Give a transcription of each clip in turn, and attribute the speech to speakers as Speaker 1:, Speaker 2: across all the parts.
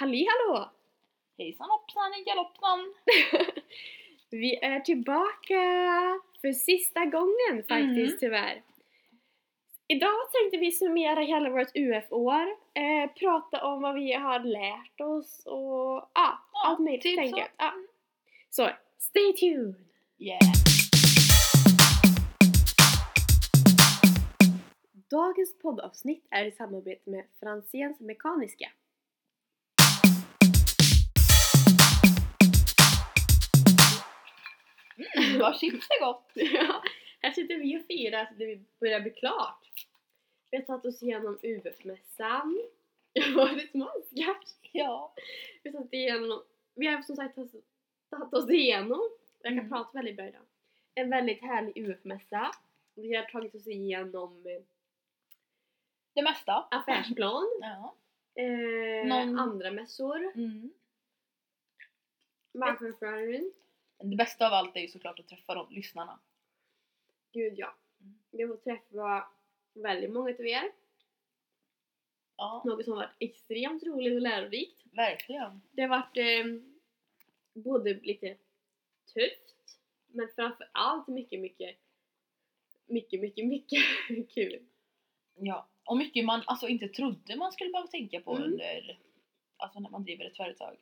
Speaker 1: Halli hallå!
Speaker 2: Hejsan hoppsan galoppsan!
Speaker 1: Vi är tillbaka för sista gången faktiskt
Speaker 2: Mhm.
Speaker 1: tyvärr. Idag tänkte vi summera hela vårt UF-år, eh, prata om vad vi har lärt oss och ah, allt möjligt
Speaker 2: typ
Speaker 1: helt
Speaker 2: så.
Speaker 1: enkelt. Ah. Så, stay tuned!
Speaker 2: Yeah!
Speaker 1: Dagens poddavsnitt är i samarbete med Franzéns Mekaniska.
Speaker 2: Mm, vad chips är gott!
Speaker 1: Ja, här sitter vi och firar så det börjar bli klart. Vi har tagit oss igenom UF-mässan. Jag har varit smaskad.
Speaker 2: Ja.
Speaker 1: Vi har tagit igenom, vi har som sagt tagit- tagit oss igenom, jag kan
Speaker 2: Mm.
Speaker 1: prata väldigt bra idag. En väldigt härlig UF-mässa. Vi har tagit oss igenom eh,
Speaker 2: Det mesta.
Speaker 1: affärsplan,
Speaker 2: Ja.
Speaker 1: eh,
Speaker 2: Någon-
Speaker 1: andra mässor,
Speaker 2: Mm.
Speaker 1: marknadsföring.
Speaker 2: Det bästa av allt är ju såklart att träffa de lyssnarna.
Speaker 1: Gud ja.
Speaker 2: Mm.
Speaker 1: Vi har fått träffa väldigt många av er.
Speaker 2: Ja,
Speaker 1: Något som har varit extremt roligt och lärorikt.
Speaker 2: verkligen.
Speaker 1: Det har varit eh, både lite tufft men framförallt mycket, mycket, mycket, mycket, mycket kul.
Speaker 2: Ja. Och mycket man alltså inte trodde man skulle behöva tänka på
Speaker 1: Mm.
Speaker 2: under, alltså när man driver ett företag.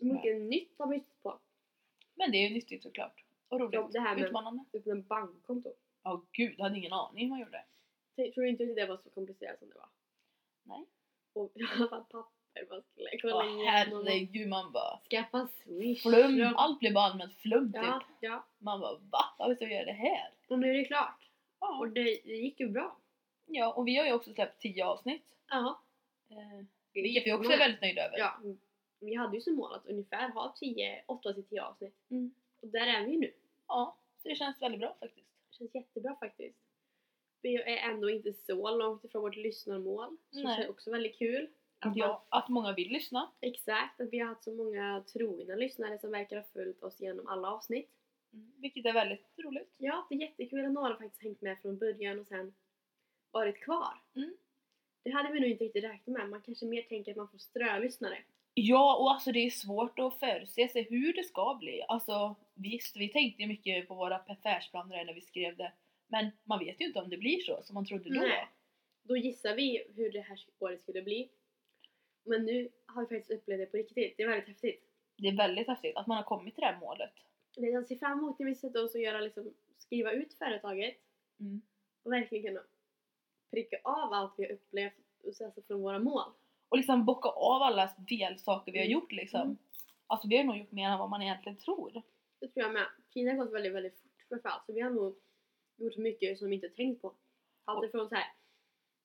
Speaker 1: Mycket nytt har bytts på.
Speaker 2: Men det är ju nyttigt såklart. Och roligt.
Speaker 1: Ja, det här med-
Speaker 2: Utmanande.
Speaker 1: Typ en bankkonto.
Speaker 2: Ja gud, jag hade ingen aning hur man gjorde.
Speaker 1: Tänk- Tror inte att det var så komplicerat som det var?
Speaker 2: Nej.
Speaker 1: Och i alla fall papper man skulle kolla
Speaker 2: Åh
Speaker 1: igenom.
Speaker 2: herregud man bara
Speaker 1: Skaffa swish.
Speaker 2: flum.
Speaker 1: Ja,
Speaker 2: Allt blev bara allmänt flum
Speaker 1: ja,
Speaker 2: typ.
Speaker 1: ja.
Speaker 2: Man bara va? Varför ska vi göra det här?
Speaker 1: Och nu är det klart.
Speaker 2: Ja.
Speaker 1: Och det, det gick ju bra.
Speaker 2: ja, och vi har ju också släppt 10 avsnitt.
Speaker 1: Ja.
Speaker 2: Eh, Vilket vi också
Speaker 1: Jättemånga.
Speaker 2: är väldigt nöjda över.
Speaker 1: Ja, vi hade ju som mål att ungefär ha 10, 8 till 10 avsnitt.
Speaker 2: Mm.
Speaker 1: Och där är vi ju nu.
Speaker 2: Ja, så det känns väldigt bra faktiskt.
Speaker 1: Det känns jättebra faktiskt. Vi är ändå inte så långt ifrån vårt lyssnarmål. Så
Speaker 2: Nej.
Speaker 1: det är också väldigt kul. Att man,
Speaker 2: Ja, att många vill lyssna.
Speaker 1: Exakt, att vi har haft så många trogna lyssnare som verkar ha följt oss genom alla avsnitt.
Speaker 2: mm, Vilket är väldigt roligt.
Speaker 1: Ja, det är jättekul att några har faktiskt hängt med från början och sen varit kvar.
Speaker 2: Mm.
Speaker 1: Det hade vi nog inte riktigt räknat med. Man kanske mer tänker att man får strölyssnare.
Speaker 2: Ja, och alltså det är svårt att förutse sig hur det ska bli. Alltså visst, vi tänkte ju mycket på våra affärsplaner när vi skrev det. Men man vet ju inte om det blir så som man trodde då.
Speaker 1: Nej. Då gissar vi hur det här året skulle bli. Men nu har vi faktiskt upplevt det på riktigt. Det är väldigt häftigt.
Speaker 2: Det är väldigt häftigt att man har kommit till det här målet.
Speaker 1: Det jag ser fram emot när vi sätter oss och göra, liksom, skriva ut företaget
Speaker 2: Mm.
Speaker 1: och verkligen kunna pricka av allt vi har upplevt och så alltså från våra mål.
Speaker 2: Och liksom bocka av alla delsaker vi har
Speaker 1: Mm.
Speaker 2: gjort liksom.
Speaker 1: Mm.
Speaker 2: Alltså vi har nog gjort mer än vad man egentligen tror.
Speaker 1: Det tror jag med. Tiden har gått väldigt, väldigt fort framförallt så vi har nog gjort mycket som vi inte tänkt på. Allt ifrån så här.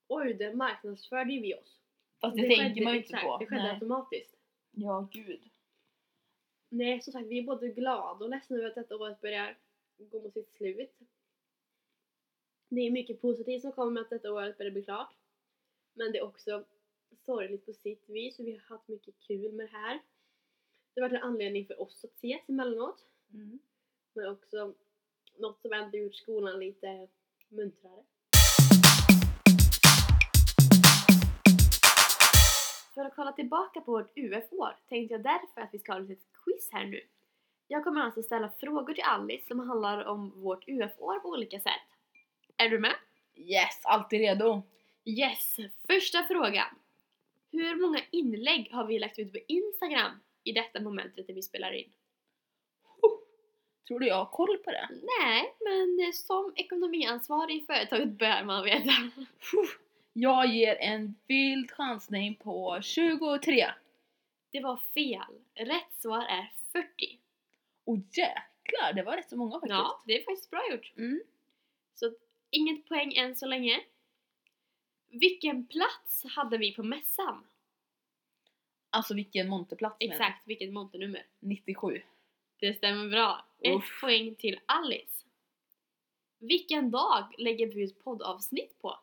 Speaker 1: oj det marknadsförde ju vi oss.
Speaker 2: Fast det, tänker
Speaker 1: skedde-
Speaker 2: man ju inte
Speaker 1: exakt,
Speaker 2: på.
Speaker 1: Det skedde
Speaker 2: Nej.
Speaker 1: automatiskt.
Speaker 2: Ja, gud.
Speaker 1: Nej som sagt vi är både glada och ledsna över att detta året börjar gå mot sitt slut. Det är mycket positivt som kommer med att detta året börjar bli klart. Men det är också sorgligt på sitt vis för vi har haft mycket kul med det här. Det har varit en anledning för oss att ses emellanåt.
Speaker 2: Mm.
Speaker 1: Men också något som ändå gjort skolan lite muntrare. För att kolla tillbaka på vårt UF-år tänkte jag därför att vi ska ha ett litet quiz här nu. Jag kommer alltså ställa frågor till Alice som handlar om vårt UF-år på olika sätt. Är du med?
Speaker 2: Yes, alltid redo.
Speaker 1: Yes! Första frågan. Hur många inlägg har vi lagt ut på Instagram i detta momentet när vi spelar in?
Speaker 2: Tror du jag har koll på det?
Speaker 1: Nej, men eh, som ekonomiansvarig i företaget bör man veta.
Speaker 2: Jag ger en vild chansning på 23.
Speaker 1: Det var fel. Rätt svar är 40.
Speaker 2: Och jäklar, det var rätt så många faktiskt.
Speaker 1: Ja, det är faktiskt bra gjort.
Speaker 2: Mm.
Speaker 1: Så inget poäng än så länge. Vilken plats hade vi på mässan?
Speaker 2: Alltså vilken monterplats menar jag.
Speaker 1: Exakt, vilket monternummer.
Speaker 2: 97.
Speaker 1: Det stämmer bra. Ett
Speaker 2: Uff.
Speaker 1: poäng till Alice. Vilken dag lägger vi ut poddavsnitt på?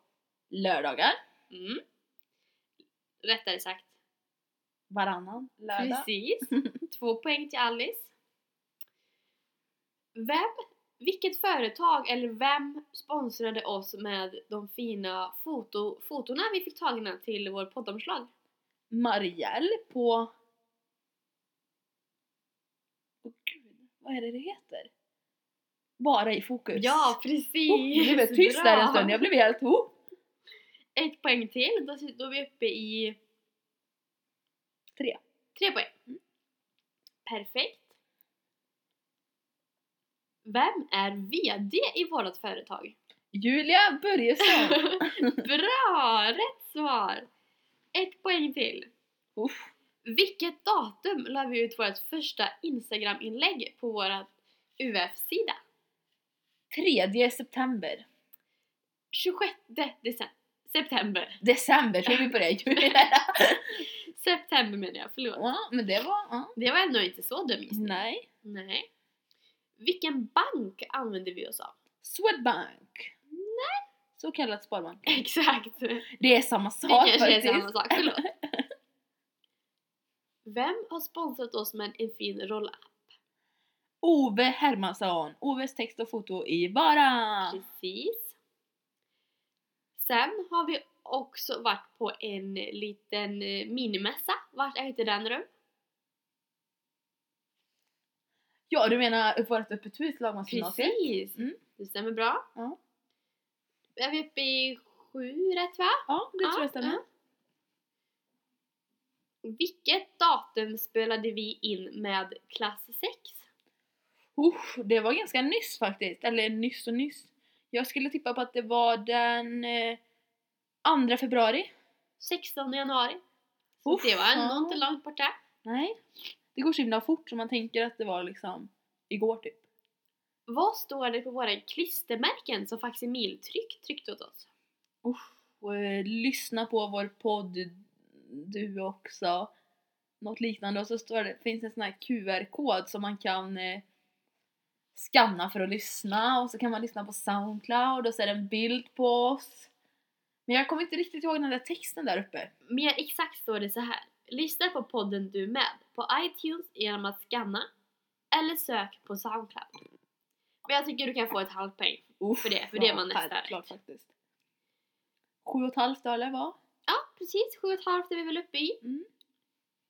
Speaker 2: Lördagar.
Speaker 1: Mm. Rättare sagt,
Speaker 2: Varannan lördag.
Speaker 1: Precis. Två poäng till Alice. Vem, vilket företag eller vem sponsrade oss med de fina foto, fotona vi fick tagna till vår poddomslag?
Speaker 2: Marielle på... Åh gud, vad är det det heter? Bara i fokus.
Speaker 1: Ja, precis!
Speaker 2: Oh, du blev tyst där en
Speaker 1: Bra.
Speaker 2: stund, jag blev helt oh.
Speaker 1: Ett poäng till, då, sit- då är vi uppe i
Speaker 2: Tre. Mm.
Speaker 1: tre poäng. Perfekt. Vem är VD i vårt företag?
Speaker 2: Julia Börjesson.
Speaker 1: Bra! Rätt svar! Ett poäng till.
Speaker 2: Uff.
Speaker 1: Vilket datum la vi ut vårt första Instagram-inlägg på vår UF-sida?
Speaker 2: 3 september.
Speaker 1: 26 december. September.
Speaker 2: December tror vi på det. Julia.
Speaker 1: September menar jag, förlåt.
Speaker 2: ja, men det var... Ja.
Speaker 1: Det var ändå inte så dumt.
Speaker 2: Nej.
Speaker 1: Nej. Vilken bank använder vi oss av?
Speaker 2: Swedbank. Nej. Så kallat sparbank.
Speaker 1: Exakt.
Speaker 2: Det är samma
Speaker 1: Det
Speaker 2: sak
Speaker 1: kanske är
Speaker 2: faktiskt.
Speaker 1: samma sak, förlåt. Vem har sponsrat oss med en fin rolla?
Speaker 2: Ove Hermansson. Oves text och foto i Vara.
Speaker 1: Precis. Sen har vi också varit på en liten eh, minimässa. Vart ägde den rum?
Speaker 2: Ja, du menar vårt öppet hus Lagmansgymnasiet?
Speaker 1: Precis!
Speaker 2: Mm.
Speaker 1: Det stämmer bra.
Speaker 2: Ja.
Speaker 1: Är vi uppe i sju rätt va?
Speaker 2: Ja, det tror
Speaker 1: Ja,
Speaker 2: jag stämmer.
Speaker 1: ja. Vilket datum spelade vi in med klass 6?
Speaker 2: Usch, det var ganska nyss faktiskt. Eller nyss och nyss. Jag skulle tippa på att det var den eh, 2 februari.
Speaker 1: 16 januari. Så
Speaker 2: Uff,
Speaker 1: det var ändå
Speaker 2: ja.
Speaker 1: inte långt borta.
Speaker 2: Nej. Det går så himla fort så man tänker att det var liksom igår typ.
Speaker 1: Vad står det på våra klistermärken som Facsimiltryck tryckte åt oss?
Speaker 2: Usch. Och, eh, lyssna på vår podd du också. Något liknande och så står det, finns det en sån här QR-kod som man kan eh, skanna för att lyssna och så kan man lyssna på Soundcloud och så är det en bild på oss. Men jag kommer inte riktigt ihåg den där texten där uppe.
Speaker 1: Mer exakt står det så här. Lyssna på podden du med på iTunes genom att scanna eller sök på Soundcloud. Men jag tycker du kan få ett halvt poäng.
Speaker 2: Uff,
Speaker 1: För det- för det var nästa
Speaker 2: Självklart faktiskt. Sju och ett halvt då eller vad?
Speaker 1: Ja, precis. Sju och ett halvt är vi väl uppe i.
Speaker 2: Mm.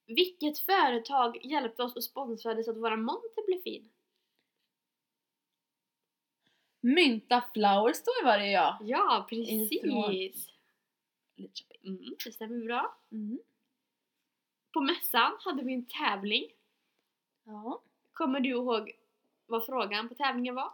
Speaker 1: Vilket företag hjälpte oss och sponsrade så att våra monter blev fin?
Speaker 2: Mynta Flowers står i varje ja.
Speaker 1: Ja,
Speaker 2: Ifrån.
Speaker 1: precis. Mm, det stämmer bra.
Speaker 2: Mm.
Speaker 1: På mässan hade vi en tävling.
Speaker 2: Ja.
Speaker 1: Kommer du ihåg vad frågan på tävlingen var?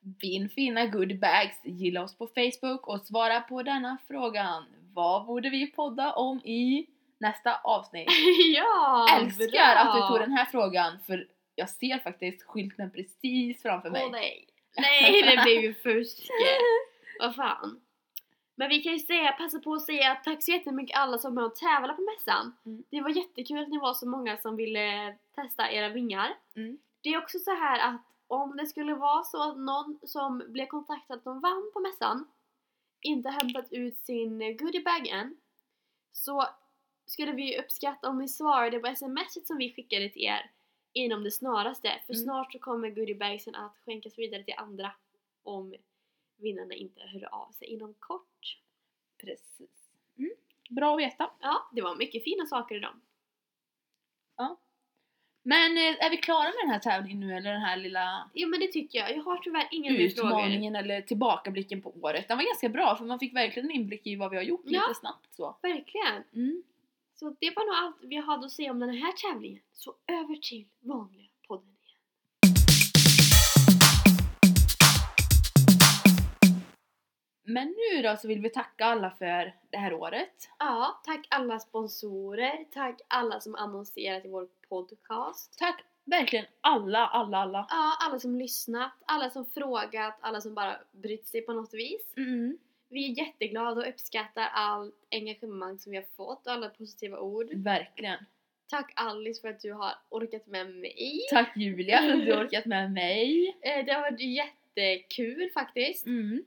Speaker 2: Vinn fina goodiebags, gilla oss på Facebook och svara på denna frågan. Vad borde vi podda om i nästa avsnitt?
Speaker 1: ja!
Speaker 2: Älskar
Speaker 1: bra.
Speaker 2: att du tog den här frågan för jag ser faktiskt skylten precis framför mig.
Speaker 1: Åh nej. Nej, det blev ju fusk. Vad fan. Men vi kan ju säga, passa på att säga tack så jättemycket alla som var med och tävlade på mässan.
Speaker 2: Mm.
Speaker 1: Det var jättekul att ni var så många som ville testa era vingar.
Speaker 2: Mm.
Speaker 1: Det är också så här att om det skulle vara så att någon som blev kontaktad som vann på mässan inte har hämtat ut sin goodiebag än så skulle vi uppskatta om ni svarade på smset som vi skickade till er inom det snaraste för
Speaker 2: Mm.
Speaker 1: snart så kommer goodiebagsen att skänkas vidare till andra om vinnarna inte hör av sig inom kort.
Speaker 2: Precis. Mm. Bra att veta.
Speaker 1: Ja, det var mycket fina saker i dem.
Speaker 2: Men eh, är vi klara med den här tävlingen nu eller den här lilla
Speaker 1: Jo men det tycker jag. Jag har tyvärr ingen mer frågor.
Speaker 2: utmaningen eller tillbakablicken på året? Den var ganska bra för man fick verkligen en inblick i vad vi har gjort
Speaker 1: Ja.
Speaker 2: lite snabbt så.
Speaker 1: Verkligen.
Speaker 2: Mm.
Speaker 1: Så det var nog allt vi hade att säga om den här tävlingen. Så över till vanliga podden igen.
Speaker 2: Men nu då så vill vi tacka alla för det här året.
Speaker 1: Ja, tack alla sponsorer. Tack alla som annonserat i vår podcast.
Speaker 2: Tack verkligen alla, alla, alla.
Speaker 1: Ja, alla som lyssnat, alla som frågat, alla som bara brytt sig på något vis.
Speaker 2: Mm.
Speaker 1: Vi är jätteglada och uppskattar allt engagemang som vi har fått och alla positiva ord.
Speaker 2: Verkligen.
Speaker 1: Tack Alice för att du har orkat med mig.
Speaker 2: Tack Julia för att du orkat med mig.
Speaker 1: Eh, Det har varit jättekul faktiskt.
Speaker 2: Mm.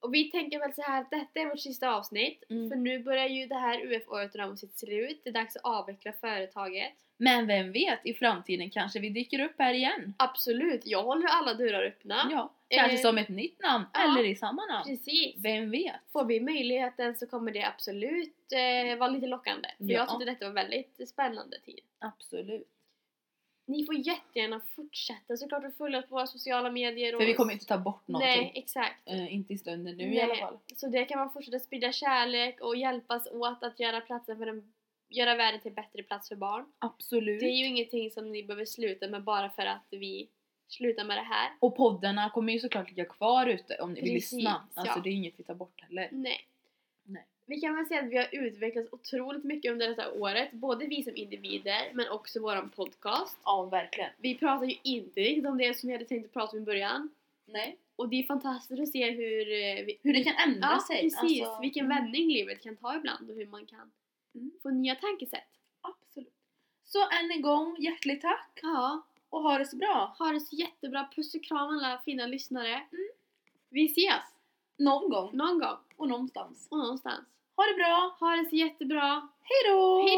Speaker 1: Och vi tänker väl så här att detta är vårt sista avsnitt.
Speaker 2: Mm.
Speaker 1: För nu börjar ju det här UF-året närma sitt slut. Det är dags att avveckla företaget.
Speaker 2: Men vem vet, i framtiden kanske vi dyker upp här igen.
Speaker 1: Absolut, jag håller alla dörrar öppna.
Speaker 2: Ja, kanske
Speaker 1: Eh,
Speaker 2: som ett nytt namn
Speaker 1: ja.
Speaker 2: eller i samma namn.
Speaker 1: Precis.
Speaker 2: Vem vet?
Speaker 1: Får vi möjligheten så kommer det absolut eh, vara lite lockande. För
Speaker 2: Ja.
Speaker 1: jag tyckte detta var väldigt spännande tid.
Speaker 2: Absolut.
Speaker 1: Ni får jättegärna fortsätta såklart att följa oss på våra sociala medier. Och
Speaker 2: För vi kommer inte ta bort någonting.
Speaker 1: Nej, exakt.
Speaker 2: Eh, inte i stunden nu i
Speaker 1: Nej.
Speaker 2: alla fall.
Speaker 1: Så där kan man fortsätta sprida kärlek och hjälpas åt att göra platsen för en göra världen till en bättre plats för barn.
Speaker 2: Absolut.
Speaker 1: Det är ju ingenting som ni behöver sluta med bara för att vi slutar med det här.
Speaker 2: Och poddarna kommer ju såklart ligga kvar ute om ni vill
Speaker 1: Precis,
Speaker 2: lyssna.
Speaker 1: ja.
Speaker 2: Alltså det är inget vi tar bort heller.
Speaker 1: Nej.
Speaker 2: Nej.
Speaker 1: Vi kan väl säga att vi har utvecklats otroligt mycket under detta året. Både vi som individer, men också våran podcast.
Speaker 2: Ja, verkligen.
Speaker 1: Vi pratar ju inte riktigt om det som vi hade tänkt att prata om i början.
Speaker 2: Nej.
Speaker 1: Och det är fantastiskt att se hur... eh, Vi,
Speaker 2: Hur det kan ändra
Speaker 1: ja,
Speaker 2: sig.
Speaker 1: precis.
Speaker 2: Alltså,
Speaker 1: Vilken
Speaker 2: mm,
Speaker 1: vändning livet kan ta ibland och hur man kan
Speaker 2: Mm.
Speaker 1: få nya tankesätt.
Speaker 2: Absolut. Så än en gång, hjärtligt tack
Speaker 1: Ja,
Speaker 2: och ha det så bra.
Speaker 1: ha det så jättebra. Puss och kram alla fina lyssnare.
Speaker 2: Mm.
Speaker 1: Vi ses!
Speaker 2: Någon gång
Speaker 1: Någon gång
Speaker 2: och någonstans.
Speaker 1: och någonstans.
Speaker 2: Ha det bra.
Speaker 1: Ha det så jättebra.
Speaker 2: Hej då!
Speaker 1: Hej